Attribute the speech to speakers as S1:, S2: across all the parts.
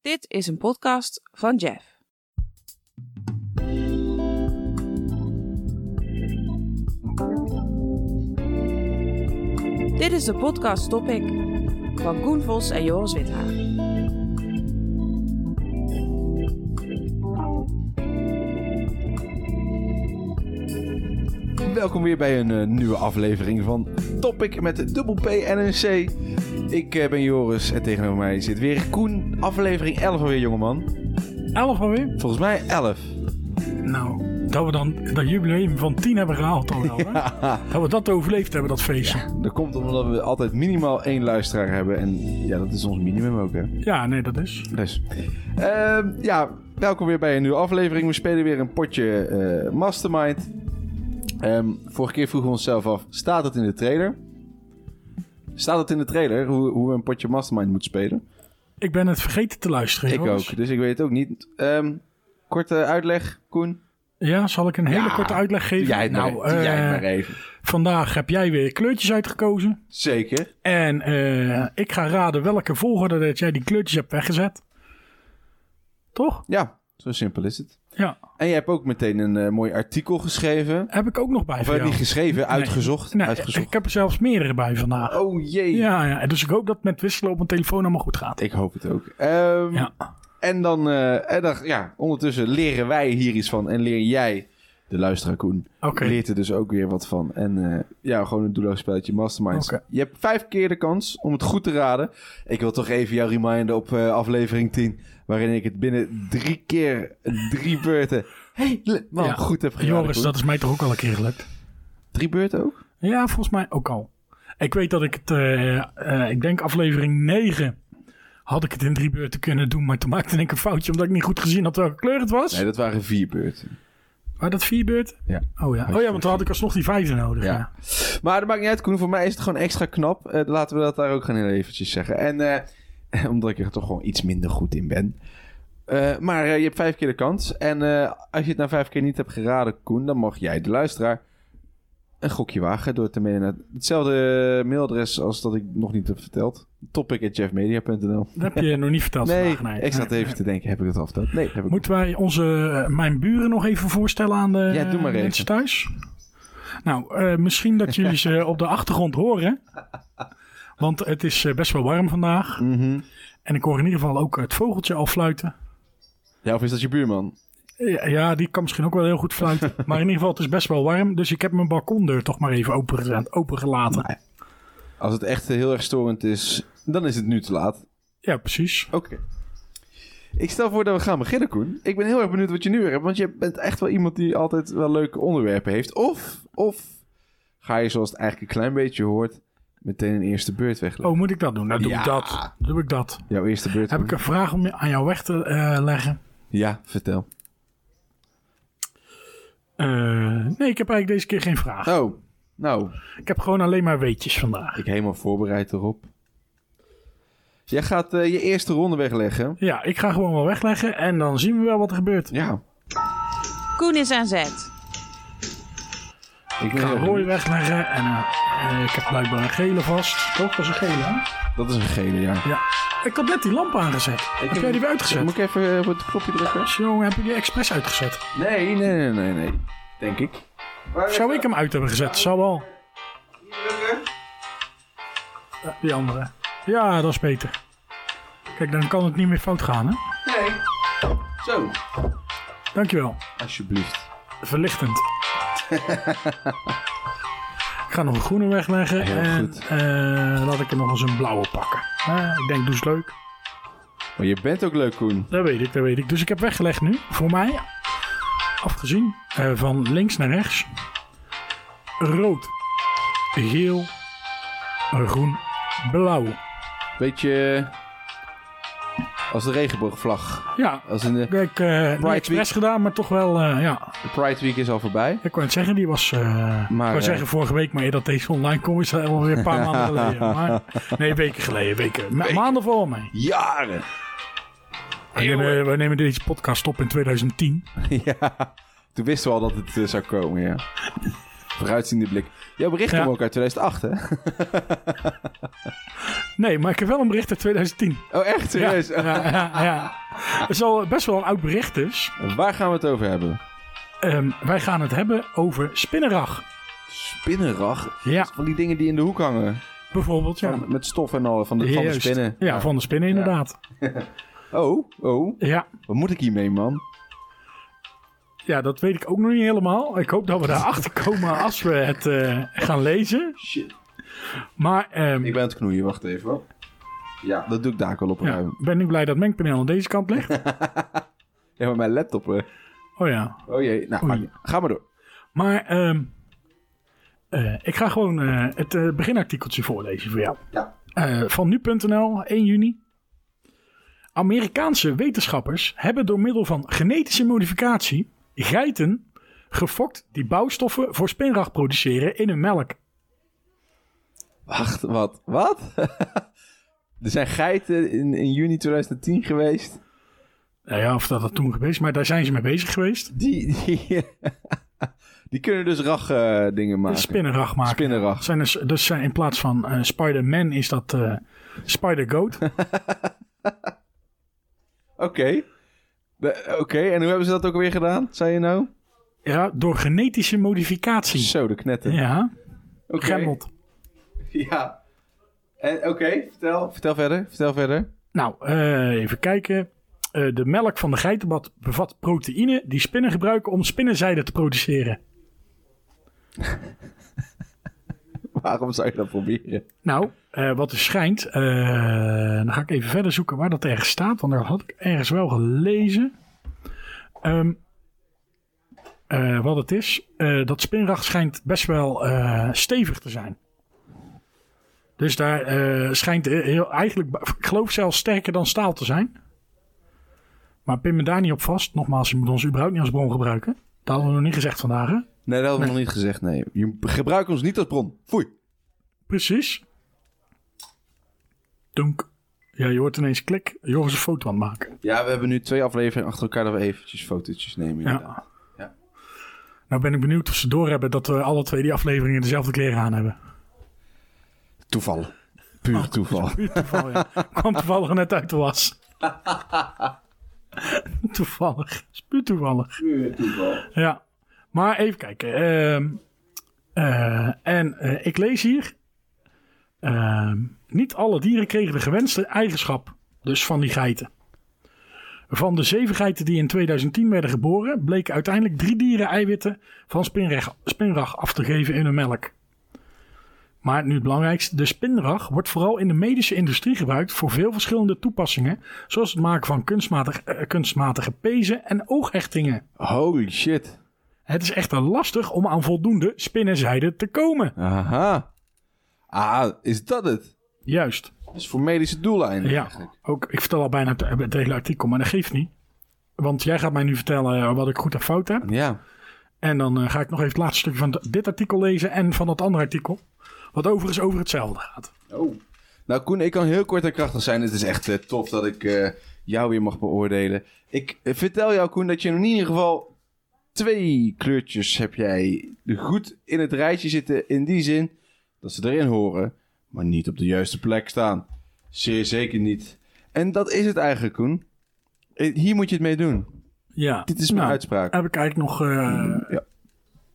S1: Dit is een podcast van Jeff. Dit is de podcast Topic van Koen Vos en Joris Withaar.
S2: Welkom weer bij een eh, nieuwe aflevering van Topic met dubbel P en een C. Ik eh, ben Joris en tegenover mij zit weer Koen. Aflevering 11 alweer, jongeman.
S3: 11 alweer?
S2: Volgens mij 11.
S3: Nou, dat we dan dat jubileum van 10 hebben gehaald al wel, hè? Dat we dat overleefd hebben, dat feestje. Ja,
S2: Dat komt omdat we altijd minimaal één luisteraar hebben. En ja, dat is ons minimum ook, hè.
S3: nee, dat is.
S2: Dus. Ehm, ja, welkom weer bij een nieuwe aflevering. We spelen weer een potje eh, Mastermind. Ehm, vorige keer vroegen we onszelf af, staat het in de trailer? Staat het in de trailer hoe, hoe we een potje Mastermind moeten spelen?
S3: Ik ben het vergeten te luisteren.
S2: Ik
S3: jongens.
S2: ook, dus ik weet het ook niet. Ehm, korte uitleg, Koen.
S3: Ja, zal ik een hele
S2: Ja,
S3: korte uitleg
S2: Doe
S3: geven?
S2: jij het
S3: nou,
S2: maar, even. Doe jij
S3: eh,
S2: het maar even.
S3: vandaag heb jij weer kleurtjes uitgekozen.
S2: Zeker.
S3: En eh, ik ga raden welke volgorde dat jij die kleurtjes hebt weggezet. Toch?
S2: Ja, zo simpel is het.
S3: Ja.
S2: En je hebt ook meteen een eh, mooi artikel geschreven.
S3: Heb ik ook nog bij
S2: Of
S3: voor
S2: eh,
S3: jou.
S2: niet geschreven, uitgezocht.
S3: Nee,
S2: uitgezocht.
S3: ik heb er zelfs meerdere bij vandaag.
S2: Oh jee.
S3: Ja, ja, dus ik hoop dat het met wisselen op mijn telefoon allemaal goed gaat.
S2: Ik hoop het ook. Ehm,
S3: Ja.
S2: En dan, eh, en dan ja, ondertussen leren wij hier iets van. En leer jij, de luisteraar Koen,
S3: Oké.
S2: leert er dus ook weer wat van. En eh, ja, gewoon een doelloos spelletje Masterminds.
S3: Oké.
S2: Je hebt vijf keer de kans om het goed te raden. Ik wil toch even jou reminden op eh, aflevering 10. Waarin ik het binnen drie keer, drie beurten helemaal
S3: Ja.
S2: goed heb geraden.
S3: Joris,
S2: Koen.
S3: dat is mij toch ook al een keer gelukt?
S2: Drie beurten ook?
S3: Ja, volgens mij ook al. Ik weet dat ik het, eh, eh, ik denk aflevering 9 had ik het in drie beurten kunnen doen, maar toen maakte ik een foutje omdat ik niet goed gezien had welke kleur het was.
S2: Nee, dat waren vier beurten.
S3: Maar dat vier beurten?
S2: Ja.
S3: Oh ja, oh ja want toen had ik alsnog die vijfde nodig.
S2: Ja.
S3: Ja.
S2: Maar dat maakt niet uit, Koen. Voor mij is het gewoon extra knap. Eh, laten we dat daar ook gaan heel eventjes zeggen. En eh, omdat ik er toch gewoon iets minder goed in ben. Eh, maar eh, je hebt vijf keer de kans. En eh, als je het nou vijf keer niet hebt geraden, Koen, dan mag jij, de luisteraar, een gokje wagen door te mailen naar hetzelfde mailadres als dat ik nog niet heb verteld. Topic.jeffmedia.nl
S3: Dat heb je nog niet verteld
S2: Nee,
S3: vandaag. Nee.
S2: ik zat even te denken, heb ik het al verteld? Nee, heb ik
S3: Moeten wij onze, eh, mijn buren nog even voorstellen aan de
S2: Ja, doe maar
S3: eh,
S2: even.
S3: mensen thuis? Nou, eh, misschien dat jullie ze op de achtergrond horen. Want het is eh, best wel warm vandaag.
S2: Mhm.
S3: En ik hoor in ieder geval ook het vogeltje al fluiten.
S2: Ja, of is dat je buurman?
S3: Ja, ja, die kan misschien ook wel heel goed fluiten. maar in ieder geval, het is best wel warm. Dus ik heb mijn balkondeur toch maar even opengezet- opengelaten.
S2: Als het echt eh, heel erg storend is, dan is het nu te laat.
S3: Ja, precies.
S2: Oké. Ik stel voor dat we gaan beginnen, Koen. Ik ben heel erg benieuwd wat je nu weer hebt. Want je bent echt wel iemand die altijd wel leuke onderwerpen heeft. Of, of ga je zoals het eigenlijk een klein beetje hoort... meteen een eerste beurt wegleggen.
S3: Oh, moet ik dat doen? Nou, doe
S2: Ja.
S3: ik dat. Doe ik dat.
S2: Jouw eerste beurt.
S3: Heb
S2: Koen.
S3: ik een vraag om je- aan jou weg te eh, leggen?
S2: Ja, vertel.
S3: Eh, nee, ik heb eigenlijk deze keer geen vraag.
S2: Oh, nou,
S3: Ik heb gewoon alleen maar weetjes vandaag.
S2: ik helemaal voorbereid erop. Jij gaat eh, je eerste ronde wegleggen.
S3: Ja, ik ga gewoon wel wegleggen en dan zien we wel wat er gebeurt.
S2: Ja,
S1: Koen is aan zet.
S2: ik
S3: Ik
S2: ben
S3: ga
S2: heel
S3: rooi
S2: benieuwd.
S3: wegleggen en eh, eh, ik heb blijkbaar een gele vast. Toch? Dat is een gele, hè?
S2: Dat is een gele, ja.
S3: Ja. Ik had net die lamp aangezet. heb jij die weer uitgezet?
S2: Moet ik even eh, op het knopje drukken?
S3: Jongen, heb je die expres uitgezet?
S2: Nee, nee, nee, nee, nee. Denk ik.
S3: Zou ik hem uit hebben gezet? Zou wel. Eh, Die andere. Ja, dat is beter. Kijk, dan kan het niet meer fout gaan, hè?
S2: Nee. Zo.
S3: Dankjewel.
S2: Alsjeblieft.
S3: Verlichtend. ik ga nog een groene wegleggen.
S2: Heel
S3: en
S2: goed.
S3: eh, laat ik er nog eens een blauwe pakken. Eh, ik denk, doe eens leuk.
S2: Maar je bent ook leuk, Koen.
S3: Dat weet ik, dat weet ik. Dus ik heb weggelegd nu, voor mij, afgezien eh, van links naar rechts, rood, geel, groen, blauw.
S2: Weet je, eh, als de regenboogvlag.
S3: Ja,
S2: Als in de,
S3: ik heb eh, niet
S2: Week.
S3: expres gedaan, maar toch wel, eh, ja.
S2: de Pride Week is al voorbij.
S3: Ik wou het zeggen, die was, eh, ik wou
S2: eh,
S3: zeggen vorige week, maar eer dat deze online komt, is dat alweer een paar maanden geleden. Maar, nee, weken geleden, weken, ma- maanden voor mij.
S2: Jaren.
S3: We nemen, we nemen deze podcast op in 2010.
S2: ja. Toen wisten we al dat het eh, zou komen, ja. Vooruitziende blik. Jouw bericht
S3: Ja.
S2: kwam ook uit 2008, hè?
S3: Nee, maar ik heb wel een bericht uit 2010.
S2: Oh, echt? Serieus?
S3: Ja, ja, ja, ja. Het is al best wel een oud bericht dus.
S2: Waar gaan we het over hebben?
S3: Ehm, wij gaan het hebben over spinnerag.
S2: Spinnenrag?
S3: Ja,
S2: Van die dingen die in de hoek hangen.
S3: bijvoorbeeld. Ja.
S2: Van- met stof en al, van de, van de
S3: Juist.
S2: spinnen.
S3: Ja, van de spinnen inderdaad.
S2: Oh, oh.
S3: Ja.
S2: Wat moet ik hiermee, man?
S3: ja, dat weet ik ook nog niet helemaal. Ik hoop dat we daarachter komen als we het eh, gaan lezen.
S2: Shit.
S3: Maar ehm,
S2: Ik ben aan het knoeien, wacht even. hoor. Ja, dat doe ik daar ook al op
S3: ja,
S2: ruim.
S3: ben ik blij dat het mengpaneel aan deze kant ligt.
S2: Ja, maar mijn laptop... eh,
S3: Oh ja.
S2: Oh jee, nou,
S3: Oei.
S2: maakt niet. ga maar door.
S3: Maar ehm, eh, ik ga gewoon eh, het eh, beginartikeltje voorlezen voor jou.
S2: Ja.
S3: Eh, van nu.nl, 1 juni. Amerikaanse wetenschappers hebben door middel van genetische modificatie geiten gefokt die bouwstoffen voor spinrag produceren in hun melk.
S2: Wacht, wat? Wat? er zijn geiten in, in juni 2010 geweest.
S3: Nou ja, of dat dat toen geweest, maar daar zijn ze mee bezig geweest.
S2: Die, die, die kunnen dus rag eh, dingen maken.
S3: Spinnenrag maken.
S2: Spinnenrag.
S3: Zijn dus, dus zijn in plaats van eh, Spider-Man is dat eh, Spider-Goat.
S2: Oké. De- Oké, en hoe hebben ze dat ook weer gedaan, zei je nou?
S3: ja, door genetische modificatie.
S2: Zo, de knetten.
S3: Ja,
S2: Oké.
S3: Gemmeld.
S2: Ja. En Oké, vertel. Vertel verder, vertel verder.
S3: Nou, eh, even kijken. Eh, de melk van de geitenbad bevat proteïne die spinnen gebruiken om spinnenzijde te produceren.
S2: Waarom zou je dat proberen?
S3: Nou, eh, wat er schijnt, eh, dan ga ik even verder zoeken waar dat ergens staat, want dat had ik ergens wel gelezen. Ehm, eh, wat het is, eh, dat spinrag schijnt best wel eh, stevig te zijn. Dus daar eh, schijnt eh, heel, eigenlijk, ik geloof zelfs sterker dan staal te zijn. Maar pin me daar niet op vast. Nogmaals, je moet ons überhaupt niet als bron gebruiken. Dat hadden we nog niet gezegd vandaag. Hè?
S2: Nee, dat hebben we nog niet gezegd, nee. Je gebruikt ons niet als bron. Foei.
S3: Precies. Donk. Ja, je hoort ineens klik. Joris een foto aan het maken.
S2: Ja, we hebben nu twee afleveringen achter elkaar dat we eventjes fotootjes nemen. inderdaad.
S3: Ja.
S2: Ja.
S3: Nou ben ik benieuwd of ze doorhebben dat we alle twee die afleveringen dezelfde kleren aan hebben.
S2: Toeval. Puur toeval.
S3: Puur toeval, ja. Kwam toevallig net uit de was. toevallig. Is Puur toevallig.
S2: Puur toeval.
S3: Ja. Maar even kijken. Ehm, eh, en eh, ik lees hier. ehm, niet alle dieren kregen de gewenste eigenschap. Dus van die geiten. Van de zeven geiten die in 2010 werden geboren, bleken uiteindelijk drie dieren eiwitten van spinrag, spinrag af te geven in hun melk. Maar nu het belangrijkste, de spinrag wordt vooral in de medische industrie gebruikt voor veel verschillende toepassingen, zoals het maken van kunstmatig, eh, kunstmatige pezen en ooghechtingen.
S2: Holy shit.
S3: Het is echter lastig om aan voldoende spinnenzijde te komen.
S2: Aha. Ah, is dat het?
S3: Juist.
S2: Dat is voor medische doeleinden
S3: Ja,
S2: eigenlijk.
S3: ook, ik vertel al bijna het, het hele artikel, maar dat geeft niet. Want jij gaat mij nu vertellen eh, wat ik goed en fout heb.
S2: Ja.
S3: En dan eh, ga ik nog even het laatste stukje van d- dit artikel lezen en van dat andere artikel. Wat overigens over hetzelfde gaat.
S2: Oh. Nou, Koen, ik kan heel kort en krachtig zijn. Het is echt eh, tof dat ik eh, jou weer mag beoordelen. Ik eh, vertel jou, Koen, dat je in ieder geval twee kleurtjes heb jij goed in het rijtje zitten. In die zin dat ze erin horen, maar niet op de juiste plek staan. Zeer zeker niet. En dat is het eigenlijk, Koen. Eh, Hier moet je het mee doen.
S3: Ja.
S2: Dit is mijn
S3: Nou,
S2: uitspraak.
S3: Daar heb ik eigenlijk nog eh,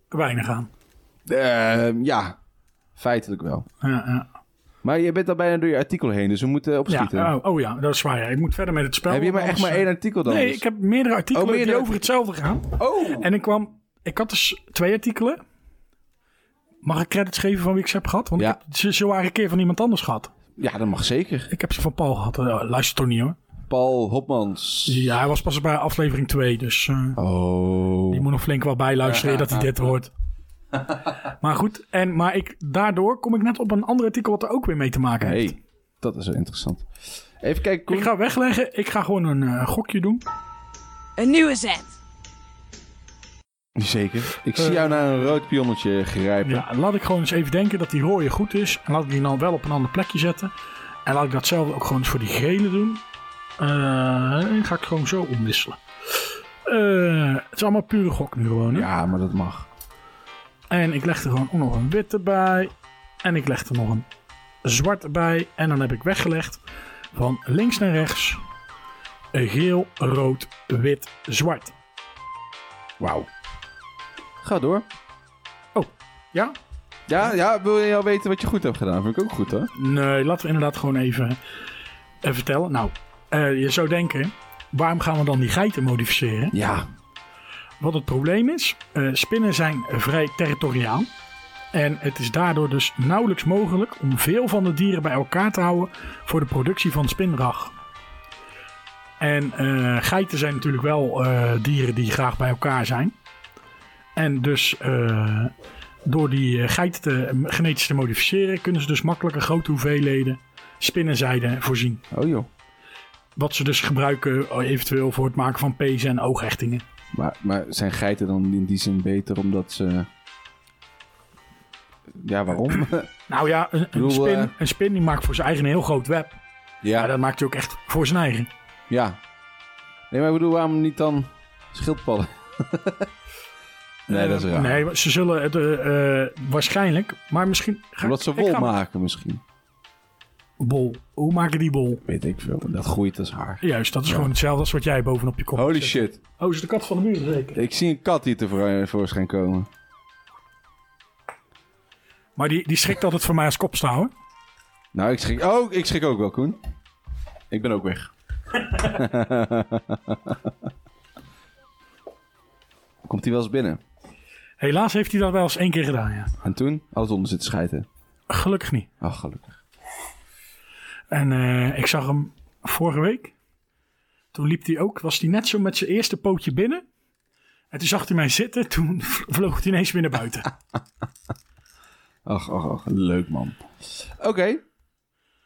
S3: weinig aan.
S2: Ehm, ja, feitelijk wel.
S3: Ja, ja.
S2: Maar je bent al bijna door je artikel heen, dus we moeten
S3: Ja,
S2: opschieten.
S3: oh, oh ja, dat is waar. ja. Ik moet verder met het spel.
S2: heb je maar
S3: want
S2: echt maar
S3: anders,
S2: één artikel dan?
S3: eh, Nee,
S2: Dus-
S3: ik heb meerdere artikelen
S2: Oh, meerdere-
S3: die over hetzelfde gaan.
S2: Oh!
S3: En ik kwam, ik had dus twee artikelen. Mag ik credits geven van wie ik ze heb gehad? Want
S2: Ja.
S3: ik heb ze zo een keer van iemand anders gehad.
S2: Ja, dat mag zeker.
S3: Ik heb ze van Paul gehad. Eh, luister toch niet hoor. Dus,
S2: Paul Hopmans.
S3: Ja, hij was pas bij aflevering 2, dus eh,
S2: Oh.
S3: die moet nog flink wat bijluisteren eer dat hij dit hoort. maar goed, en, maar ik, daardoor kom ik net op een ander artikel wat er ook weer mee te maken heeft.
S2: Hey, dat is wel interessant. Even kijken, Koen.
S3: Ik ga wegleggen, ik ga gewoon een eh, gokje doen.
S1: Een nieuwe zet.
S2: Zeker. Ik zie jou naar een rood pionnetje grijpen.
S3: Ja, laat ik gewoon eens even denken dat die rode goed is. En laat ik die dan wel op een ander plekje zetten. En laat ik datzelfde ook gewoon eens voor die gele doen. Eh, en ga ik gewoon zo omwisselen. Eh, het is allemaal pure gok nu gewoon. Hè?
S2: Ja, maar dat mag.
S3: En ik leg er gewoon ook nog een witte bij. En ik leg er nog een zwart bij. En dan heb ik weggelegd van links naar rechts. Geel, rood, wit, zwart.
S2: Wauw. Ga door.
S3: Ja?
S2: Ja, ja, wil je al weten wat je goed hebt gedaan? Vind ik ook goed, hoor.
S3: Nee, laten we inderdaad gewoon even eh, vertellen. Nou, eh, je zou denken, waarom gaan we dan die geiten modificeren?
S2: Ja.
S3: Wat het probleem is, eh, spinnen zijn vrij territoriaal. En het is daardoor dus nauwelijks mogelijk om veel van de dieren bij elkaar te houden voor de productie van spinrag. En eh, geiten zijn natuurlijk wel eh, dieren die graag bij elkaar zijn. En dus eh, door die eh, geiten te, genetisch te modificeren kunnen ze dus makkelijker grote hoeveelheden spinnenzijde voorzien.
S2: Oh, joh.
S3: Wat ze dus gebruiken eh, eventueel voor het maken van pezen en oogechtingen.
S2: Maar, maar zijn geiten dan in die zin beter omdat ze... Ja, waarom?
S3: Nou ja, een, een
S2: bedoel,
S3: spin,
S2: eh,
S3: een spin die maakt voor zijn eigen een heel groot web. Maar
S2: ja.
S3: dat maakt hij ook echt voor zijn eigen.
S2: Ja. Nee, maar ik bedoel, waarom niet dan schildpadden? nee, dat is
S3: Eh,
S2: raar.
S3: Nee, ze zullen het eh, eh, waarschijnlijk, maar misschien... Ga,
S2: Omdat ze
S3: ik
S2: wol
S3: ga-
S2: maken misschien.
S3: Bol. Hoe maken die bol?
S2: Weet ik veel. Dat groeit als haar.
S3: Juist, dat is gewoon hetzelfde als wat jij bovenop je kop
S2: Holy
S3: zet.
S2: shit.
S3: Oh, is de kat van de muur zeker?
S2: Ik zie een kat hier eh, tevoorschijn komen.
S3: Maar die, die schrikt altijd voor mij als kopstaal, hoor.
S2: Nou, ik schrik... Oh, ik schrik ook wel, Koen. Ik ben ook weg. Komt hij wel eens binnen?
S3: Helaas heeft hij dat wel eens één keer gedaan, ja.
S2: En toen? Alles onder Oh, zitten schijten.
S3: Gelukkig niet.
S2: Ach, gelukkig.
S3: En eh, ik zag hem vorige week. Toen liep hij ook, was hij net zo met zijn eerste pootje binnen. En toen zag hij mij zitten, toen vloog hij ineens weer naar buiten.
S2: Ach, ach, ach. Leuk, man. Oké.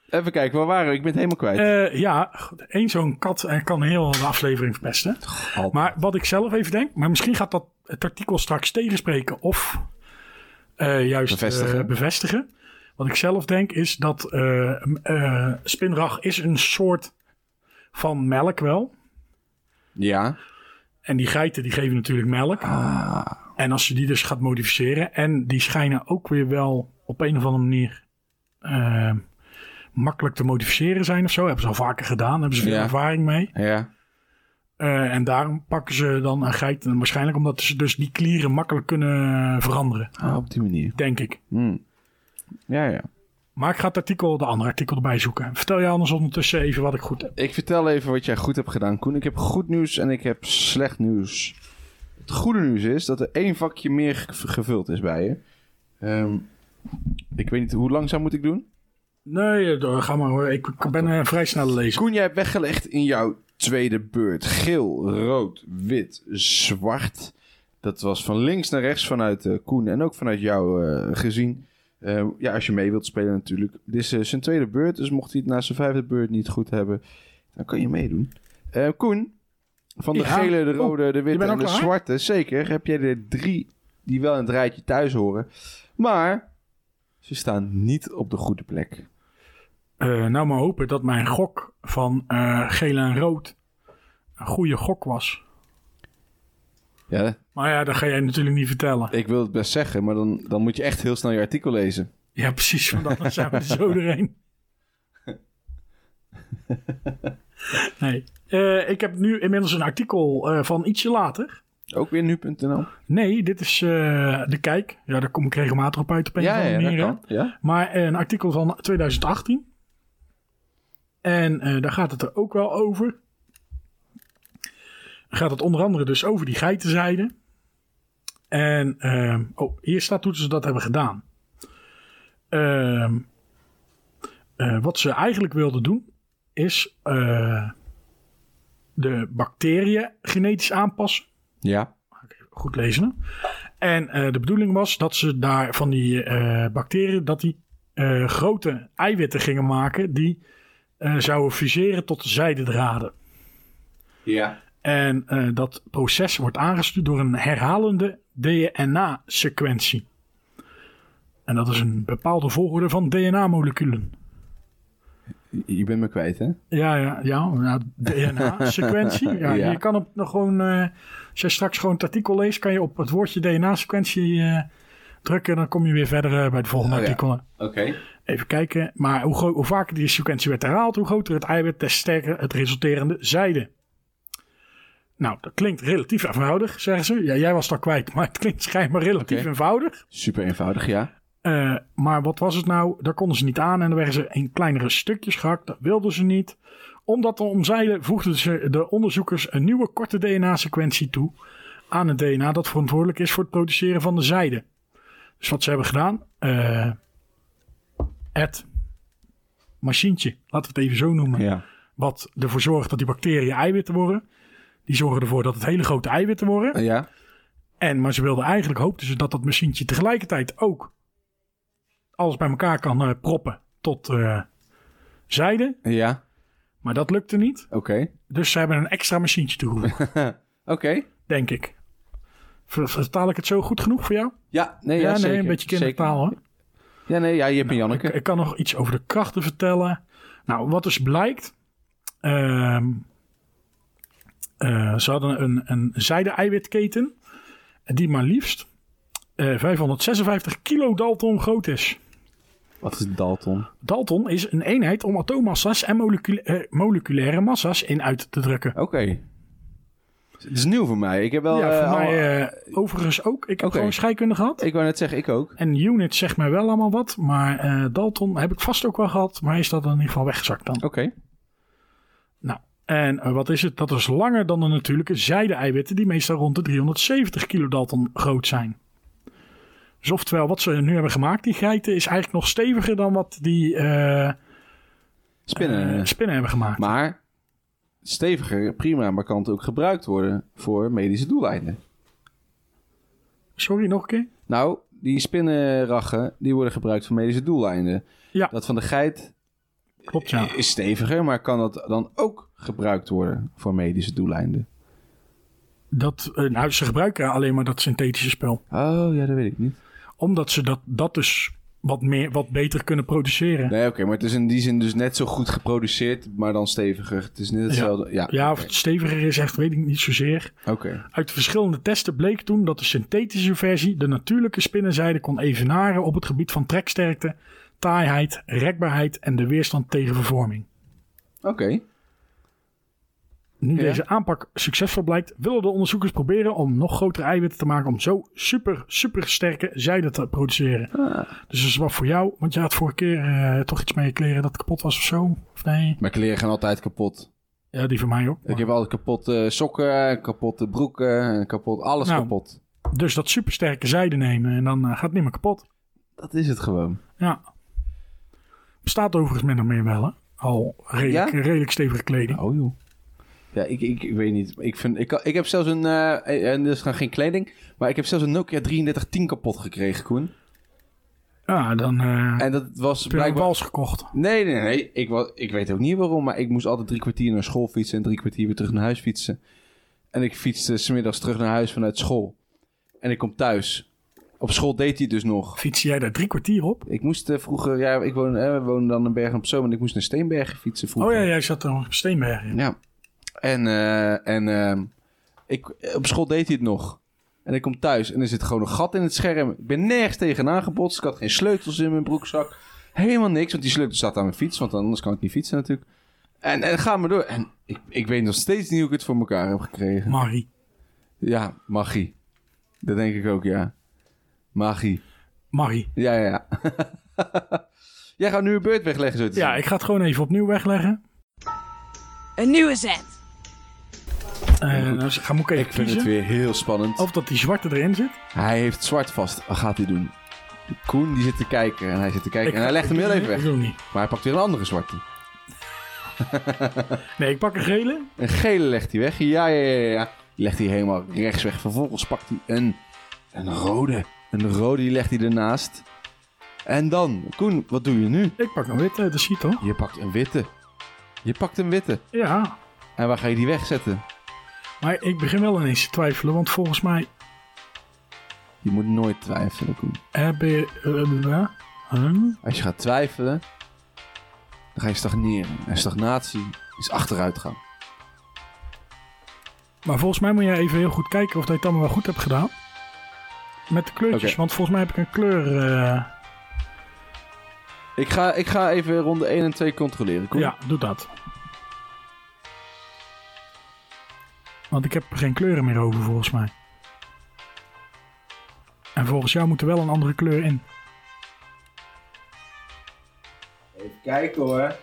S2: Even kijken, waar waren we? Ik ben het helemaal kwijt.
S3: Eh, ja, één zo'n kat eh, kan heel de aflevering verpesten.
S2: Al-
S3: Eh, Maar wat ik zelf even denk, maar misschien gaat dat het artikel straks tegenspreken of eh, juist
S2: Bevestigen.
S3: eh, bevestigen. Wat ik zelf denk is dat eh, m- eh, spinrag is een soort van melk wel.
S2: Ja.
S3: En die geiten die geven natuurlijk melk.
S2: Ah.
S3: En als je die dus gaat modificeren. En die schijnen ook weer wel op een of andere manier eh, makkelijk te modificeren zijn of zo. Hebben ze al vaker gedaan. Hebben ze veel
S2: Ja.
S3: ervaring mee.
S2: Ja.
S3: Eh, en daarom pakken ze dan een geit. En waarschijnlijk omdat ze dus die klieren makkelijk kunnen veranderen.
S2: Ah, op die manier.
S3: Denk ik.
S2: Hmm. Ja, ja.
S3: Maar ik ga het artikel, de andere artikel erbij zoeken. Vertel je anders ondertussen even wat ik goed heb.
S2: Ik vertel even wat jij goed hebt gedaan, Koen. Ik heb goed nieuws en ik heb slecht nieuws. Het goede nieuws is dat er één vakje meer ge- gevuld is bij je. Ehm, ik weet niet, hoe langzaam moet ik doen?
S3: Nee, eh, ga maar hoor. Ik, ik ben een vrij snelle lezer.
S2: Koen, jij hebt weggelegd in jouw tweede beurt. Geel, rood, wit, zwart. Dat was van links naar rechts vanuit eh, Koen en ook vanuit jou eh, gezien. Eh, ja, als je mee wilt spelen natuurlijk. Dit is eh, zijn tweede beurt, dus mocht hij het na zijn vijfde beurt niet goed hebben, dan kan je meedoen. Eh, Koen, van de
S3: Ja.
S2: gele, de
S3: Oh,
S2: rode, de
S3: je
S2: witte
S3: bent
S2: en
S3: al
S2: de
S3: klaar?
S2: zwarte, zeker, heb jij er drie die wel in het rijtje thuis horen. Maar ze staan niet op de goede plek.
S3: Eh, nou maar hopen dat mijn gok van eh, geel en rood een goede gok was.
S2: Ja,
S3: Maar ja, dat ga jij natuurlijk niet vertellen.
S2: Ik wil het best zeggen, maar dan, dan moet je echt heel snel je artikel lezen.
S3: Ja, precies, want anders zijn we er zo doorheen. Nee. Eh, ik heb nu inmiddels een artikel eh, van ietsje later.
S2: Ook weer nu.nl.
S3: Nee, dit is eh, De Kijk. Ja, daar kom ik regelmatig op uit op een of andere manier. hè.
S2: Ja?
S3: Maar eh, een artikel van 2018. En eh, daar gaat het er ook wel over. Gaat het onder andere dus over die geitenzijde. En ehm, oh, hier staat hoe ze dat hebben gedaan. Ehm, eh, wat ze eigenlijk wilden doen is eh, de bacteriën genetisch aanpassen
S2: Ja.
S3: goed lezen. hè? En eh, de bedoeling was dat ze daar van die eh, bacteriën, dat die eh, grote eiwitten gingen maken die eh, zouden fuseren tot zijdedraden.
S2: Ja.
S3: En eh, dat proces wordt aangestuurd door een herhalende DNA-sequentie. En dat is een bepaalde volgorde van DNA-moleculen.
S2: Je bent me kwijt, hè?
S3: Ja, ja, ja. nou, ja DNA-sequentie. Ja,
S2: Ja.
S3: Je kan op nog gewoon, eh, als je straks gewoon het artikel leest, kan je op het woordje DNA-sequentie eh, drukken. En dan kom je weer verder eh, bij de volgende
S2: Oh, ja.
S3: artikelen.
S2: Oké.
S3: Even kijken. Maar hoe, gro- hoe vaker die sequentie werd herhaald, hoe groter het ei werd, des te sterker het resulterende zijde. Nou, dat klinkt relatief eenvoudig, zeggen ze. Ja, jij was het al kwijt, maar het klinkt schijnbaar relatief
S2: Oké.
S3: eenvoudig.
S2: Super eenvoudig, ja.
S3: Eh, maar wat was het nou? Daar konden ze niet aan en dan werden ze in kleinere stukjes gehakt. Dat wilden ze niet. Om dat te omzeilen voegden ze de onderzoekers een nieuwe korte DNA-sequentie toe aan het DNA dat verantwoordelijk is voor het produceren van de zijde. Dus wat ze hebben gedaan, eh, het machientje, laten we het even zo noemen,
S2: ja.
S3: wat ervoor zorgt dat die bacteriën eiwitten worden. Die zorgen ervoor dat het hele grote eiwitten worden.
S2: Eh, Ja?
S3: En, maar ze wilden eigenlijk, hoopten ze dat dat machientje tegelijkertijd ook alles bij elkaar kan eh, proppen tot eh, zijde.
S2: Eh, Ja?
S3: Maar dat lukte niet.
S2: Oké.
S3: Dus ze hebben een extra machientje toegevoegd,
S2: Oké.
S3: denk ik. Ver- Vertaal ik het zo goed genoeg voor jou?
S2: Ja, nee, ja,
S3: nee,
S2: zeker.
S3: een beetje
S2: Zeker.
S3: kindertaal hoor.
S2: Ja, nee, ja, je hebt een Janneke.
S3: Ik, ik kan nog iets over de krachten vertellen. Nou, wat dus blijkt. ehm, eh, ze hadden een, een zijde-eiwitketen. Die maar liefst eh, 556 kilo Dalton groot is.
S2: Wat is Dalton?
S3: Dalton is een eenheid om atoommassa's en molecul- eh, moleculaire massa's in uit te drukken.
S2: Oké. Het is nieuw voor mij. Ik heb wel...
S3: ja,
S2: eh,
S3: voor
S2: al-
S3: mij eh, overigens ook. Ik heb
S2: Oké.
S3: gewoon scheikunde gehad.
S2: Ik wou net zeggen, ik ook.
S3: En unit zegt mij wel allemaal wat. Maar eh, Dalton heb ik vast ook wel gehad. Maar hij is dat in ieder geval weggezakt dan.
S2: Oké.
S3: Nou, en eh, wat is het? Dat is langer dan de natuurlijke zijde-eiwitten, die meestal rond de 370 kilodalton groot zijn. Dus oftewel, wat ze nu hebben gemaakt, die geiten, is eigenlijk nog steviger dan wat die eh,
S2: Spinnen.
S3: eh, spinnen hebben gemaakt.
S2: maar steviger, prima, maar kan het ook gebruikt worden voor medische doeleinden.
S3: Sorry, nog een keer?
S2: Nou, die spinnenraggen, die worden gebruikt voor medische doeleinden.
S3: Ja.
S2: Dat van de geit
S3: Klopt, ja.
S2: is steviger, maar kan dat dan ook gebruikt worden voor medische doeleinden?
S3: Dat, eh, nou, ze gebruiken alleen maar dat synthetische spel.
S2: Oh, ja, dat weet ik niet.
S3: Omdat ze dat, dat dus wat, meer, wat beter kunnen produceren.
S2: Nee, oké, maar het is in die zin dus net zo goed geproduceerd, maar dan steviger. Het is net hetzelfde. Ja,
S3: Ja, of
S2: oké.
S3: het steviger is, echt weet ik niet zozeer.
S2: Oké.
S3: Uit verschillende testen bleek toen dat de synthetische versie de natuurlijke spinnenzijde kon evenaren op het gebied van treksterkte, taaiheid, rekbaarheid en de weerstand tegen vervorming.
S2: Oké.
S3: Nu
S2: Ja.
S3: deze aanpak succesvol blijkt, willen de onderzoekers proberen om nog grotere eiwitten te maken om zo super, super sterke zijde te produceren.
S2: Ah.
S3: Dus dat is wat voor jou, want je had vorige keer eh, toch iets met je kleren dat kapot was of zo? Of nee?
S2: Mijn kleren gaan altijd kapot.
S3: Ja, die van mij ook.
S2: Ik heb altijd kapotte sokken, kapotte broeken, kapot, alles
S3: Nou.
S2: kapot.
S3: Dus dat supersterke zijde nemen en dan eh, gaat het niet meer kapot.
S2: Dat is het gewoon.
S3: Ja. Bestaat overigens min of meer wel, hè? Al redelijk,
S2: Ja?
S3: redelijk stevige kleding.
S2: Oh joh. Ja, ik, ik, ik weet niet. Ik, vind, ik, kan- ik heb zelfs een, eh, en dus geen kleding, maar ik heb zelfs een Nokia 3310 kapot gekregen, Koen.
S3: Ja, dan eh
S2: En dat was
S3: heb je een
S2: blijkbaar...
S3: wals gekocht.
S2: Nee, nee, nee. Ik, wa- ik weet ook niet waarom, maar ik moest altijd drie kwartier naar school fietsen en drie kwartier weer terug naar huis fietsen. En ik fietste smiddags terug naar huis vanuit school. En ik kom thuis. Op school deed hij dus nog.
S3: Fiets jij daar drie kwartier op?
S2: Ik moest eh, vroeger, ja, ik woon, eh, we wonen dan in Bergen op Zoom en ik moest naar Steenbergen fietsen
S3: Oh
S2: vroeger.
S3: ja, jij zat er nog op Steenbergen. in.
S2: Ja. En, eh, en ehm, ik, op school deed hij het nog. En ik kom thuis en er zit gewoon een gat in het scherm. Ik ben nergens tegenaan gebotst. Ik had geen sleutels in mijn broekzak. Helemaal niks, want die sleutel staat aan mijn fiets. Want anders kan ik niet fietsen natuurlijk. En, en ga maar door. En ik, ik weet nog steeds niet hoe ik het voor elkaar heb gekregen.
S3: Marie.
S2: Ja, magie. Dat denk ik ook, ja. Magie.
S3: Marie.
S2: Ja, ja, ja. Jij gaat nu een beurt wegleggen, zo te
S3: Ja,
S2: zien.
S3: ik ga het gewoon even opnieuw wegleggen.
S1: Een nieuwe zet.
S3: Eh nou, ga moet ik even
S2: Ik vind
S3: kiezen.
S2: het weer heel spannend.
S3: Of dat die zwarte erin zit.
S2: Hij heeft zwart vast. Wat gaat hij doen? Koen die zit te kijken en hij zit te kijken. en hij legt hem heel even weg.
S3: Ik doe hem niet.
S2: Maar hij pakt weer een andere zwarte.
S3: Nee, ik pak een gele.
S2: Een gele legt hij weg. Ja, ja, ja, ja. Die legt hij helemaal rechts weg. Vervolgens pakt hij een, een rode. Een rode die legt hij ernaast. En dan, Koen, wat doe je nu?
S3: Ik pak een witte, dat ziet toch?
S2: Je pakt een witte. Je pakt een witte.
S3: Ja.
S2: En waar ga je die wegzetten?
S3: Maar ik begin wel ineens te twijfelen, want volgens mij
S2: Je moet nooit twijfelen, Koen.
S3: heb je... eh, eh, huh?
S2: Als je gaat twijfelen, dan ga je stagneren. En stagnatie is achteruitgang.
S3: Maar volgens mij moet jij even heel goed kijken of dat je het allemaal wel goed hebt gedaan. Met de kleurtjes,
S2: Oké.
S3: want volgens mij heb ik een kleur. eh,
S2: Ik ga, ik ga even ronde 1 en 2 controleren. Koen.
S3: Ja, doe dat. Want ik heb er geen kleuren meer over volgens mij. En volgens jou moet er wel een andere kleur in.
S2: Even kijken hoor.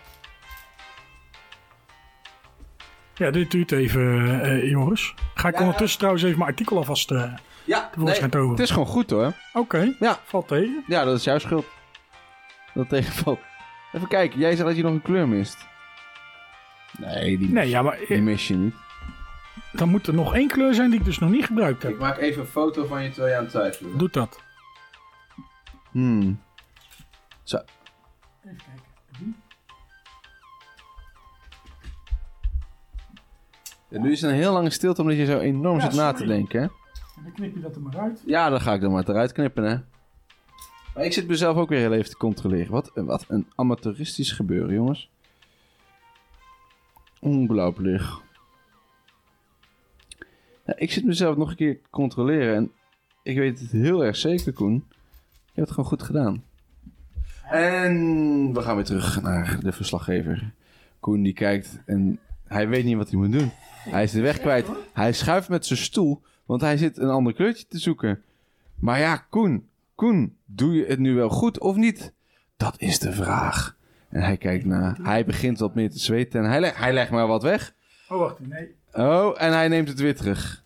S3: Ja, dit duurt even, eh eh, Joris. Ga ik
S2: Ja.
S3: ondertussen trouwens even mijn artikel alvast eh
S2: Ja,
S3: tevoorschijn
S2: nee,
S3: toveren.
S2: Het is gewoon goed hoor.
S3: Oké,
S2: Ja.
S3: valt tegen.
S2: Ja, dat is jouw schuld. Dat tegenvalt. Even kijken, jij zei dat je nog een kleur mist. Nee, die,
S3: Nee, ja, maar
S2: die
S3: eh,
S2: mis je niet.
S3: dan moet er nog één kleur zijn die ik dus nog niet gebruikt heb.
S2: maak even een foto van je terwijl je aan het twijfelen
S3: Doe dat.
S2: Hmm. Zo. En nu is het een heel lange stilte omdat je zo enorm
S3: Ja,
S2: zit na te
S3: sorry.
S2: denken. hè?
S3: En dan knip je dat er maar uit.
S2: Ja, dan ga ik dan maar eruit knippen, hè. Maar ik zit mezelf ook weer heel even te controleren. Wat, een- wat een amateuristisch gebeuren, jongens. Ongelooflijk. Ja, ik zit mezelf nog een keer te controleren. En ik weet het heel erg zeker, Koen. Je hebt het gewoon goed gedaan. En we gaan weer terug naar de verslaggever. Koen die kijkt en hij weet niet wat hij moet doen. Hij is de weg kwijt. Hij schuift met zijn stoel, want hij zit een ander kleurtje te zoeken. Maar ja, Koen, Koen, doe je het nu wel goed of niet? Dat is de vraag. En hij kijkt naar. Hij begint wat meer te zweten en hij, le- hij legt maar wat weg.
S3: Oh, wacht. Nee.
S2: Oh, en hij neemt het weer terug.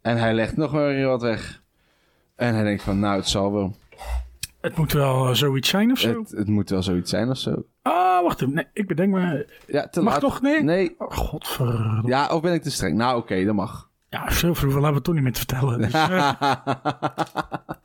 S2: En hij legt nog maar weer wat weg. En hij denkt van, nou, het zal wel.
S3: Het moet wel eh, zoiets zijn of zo.
S2: Het, het moet wel zoiets zijn of zo.
S3: Ah, wacht even. Nee, ik bedenk me.
S2: Ja, te
S3: Mag
S2: laat.
S3: toch? Nee?
S2: Nee.
S3: Oh, godver...
S2: Ja, of ben ik te streng? Nou, oké, dat mag.
S3: Ja, zoveel hebben we toch niet meer te vertellen. Dus, eh,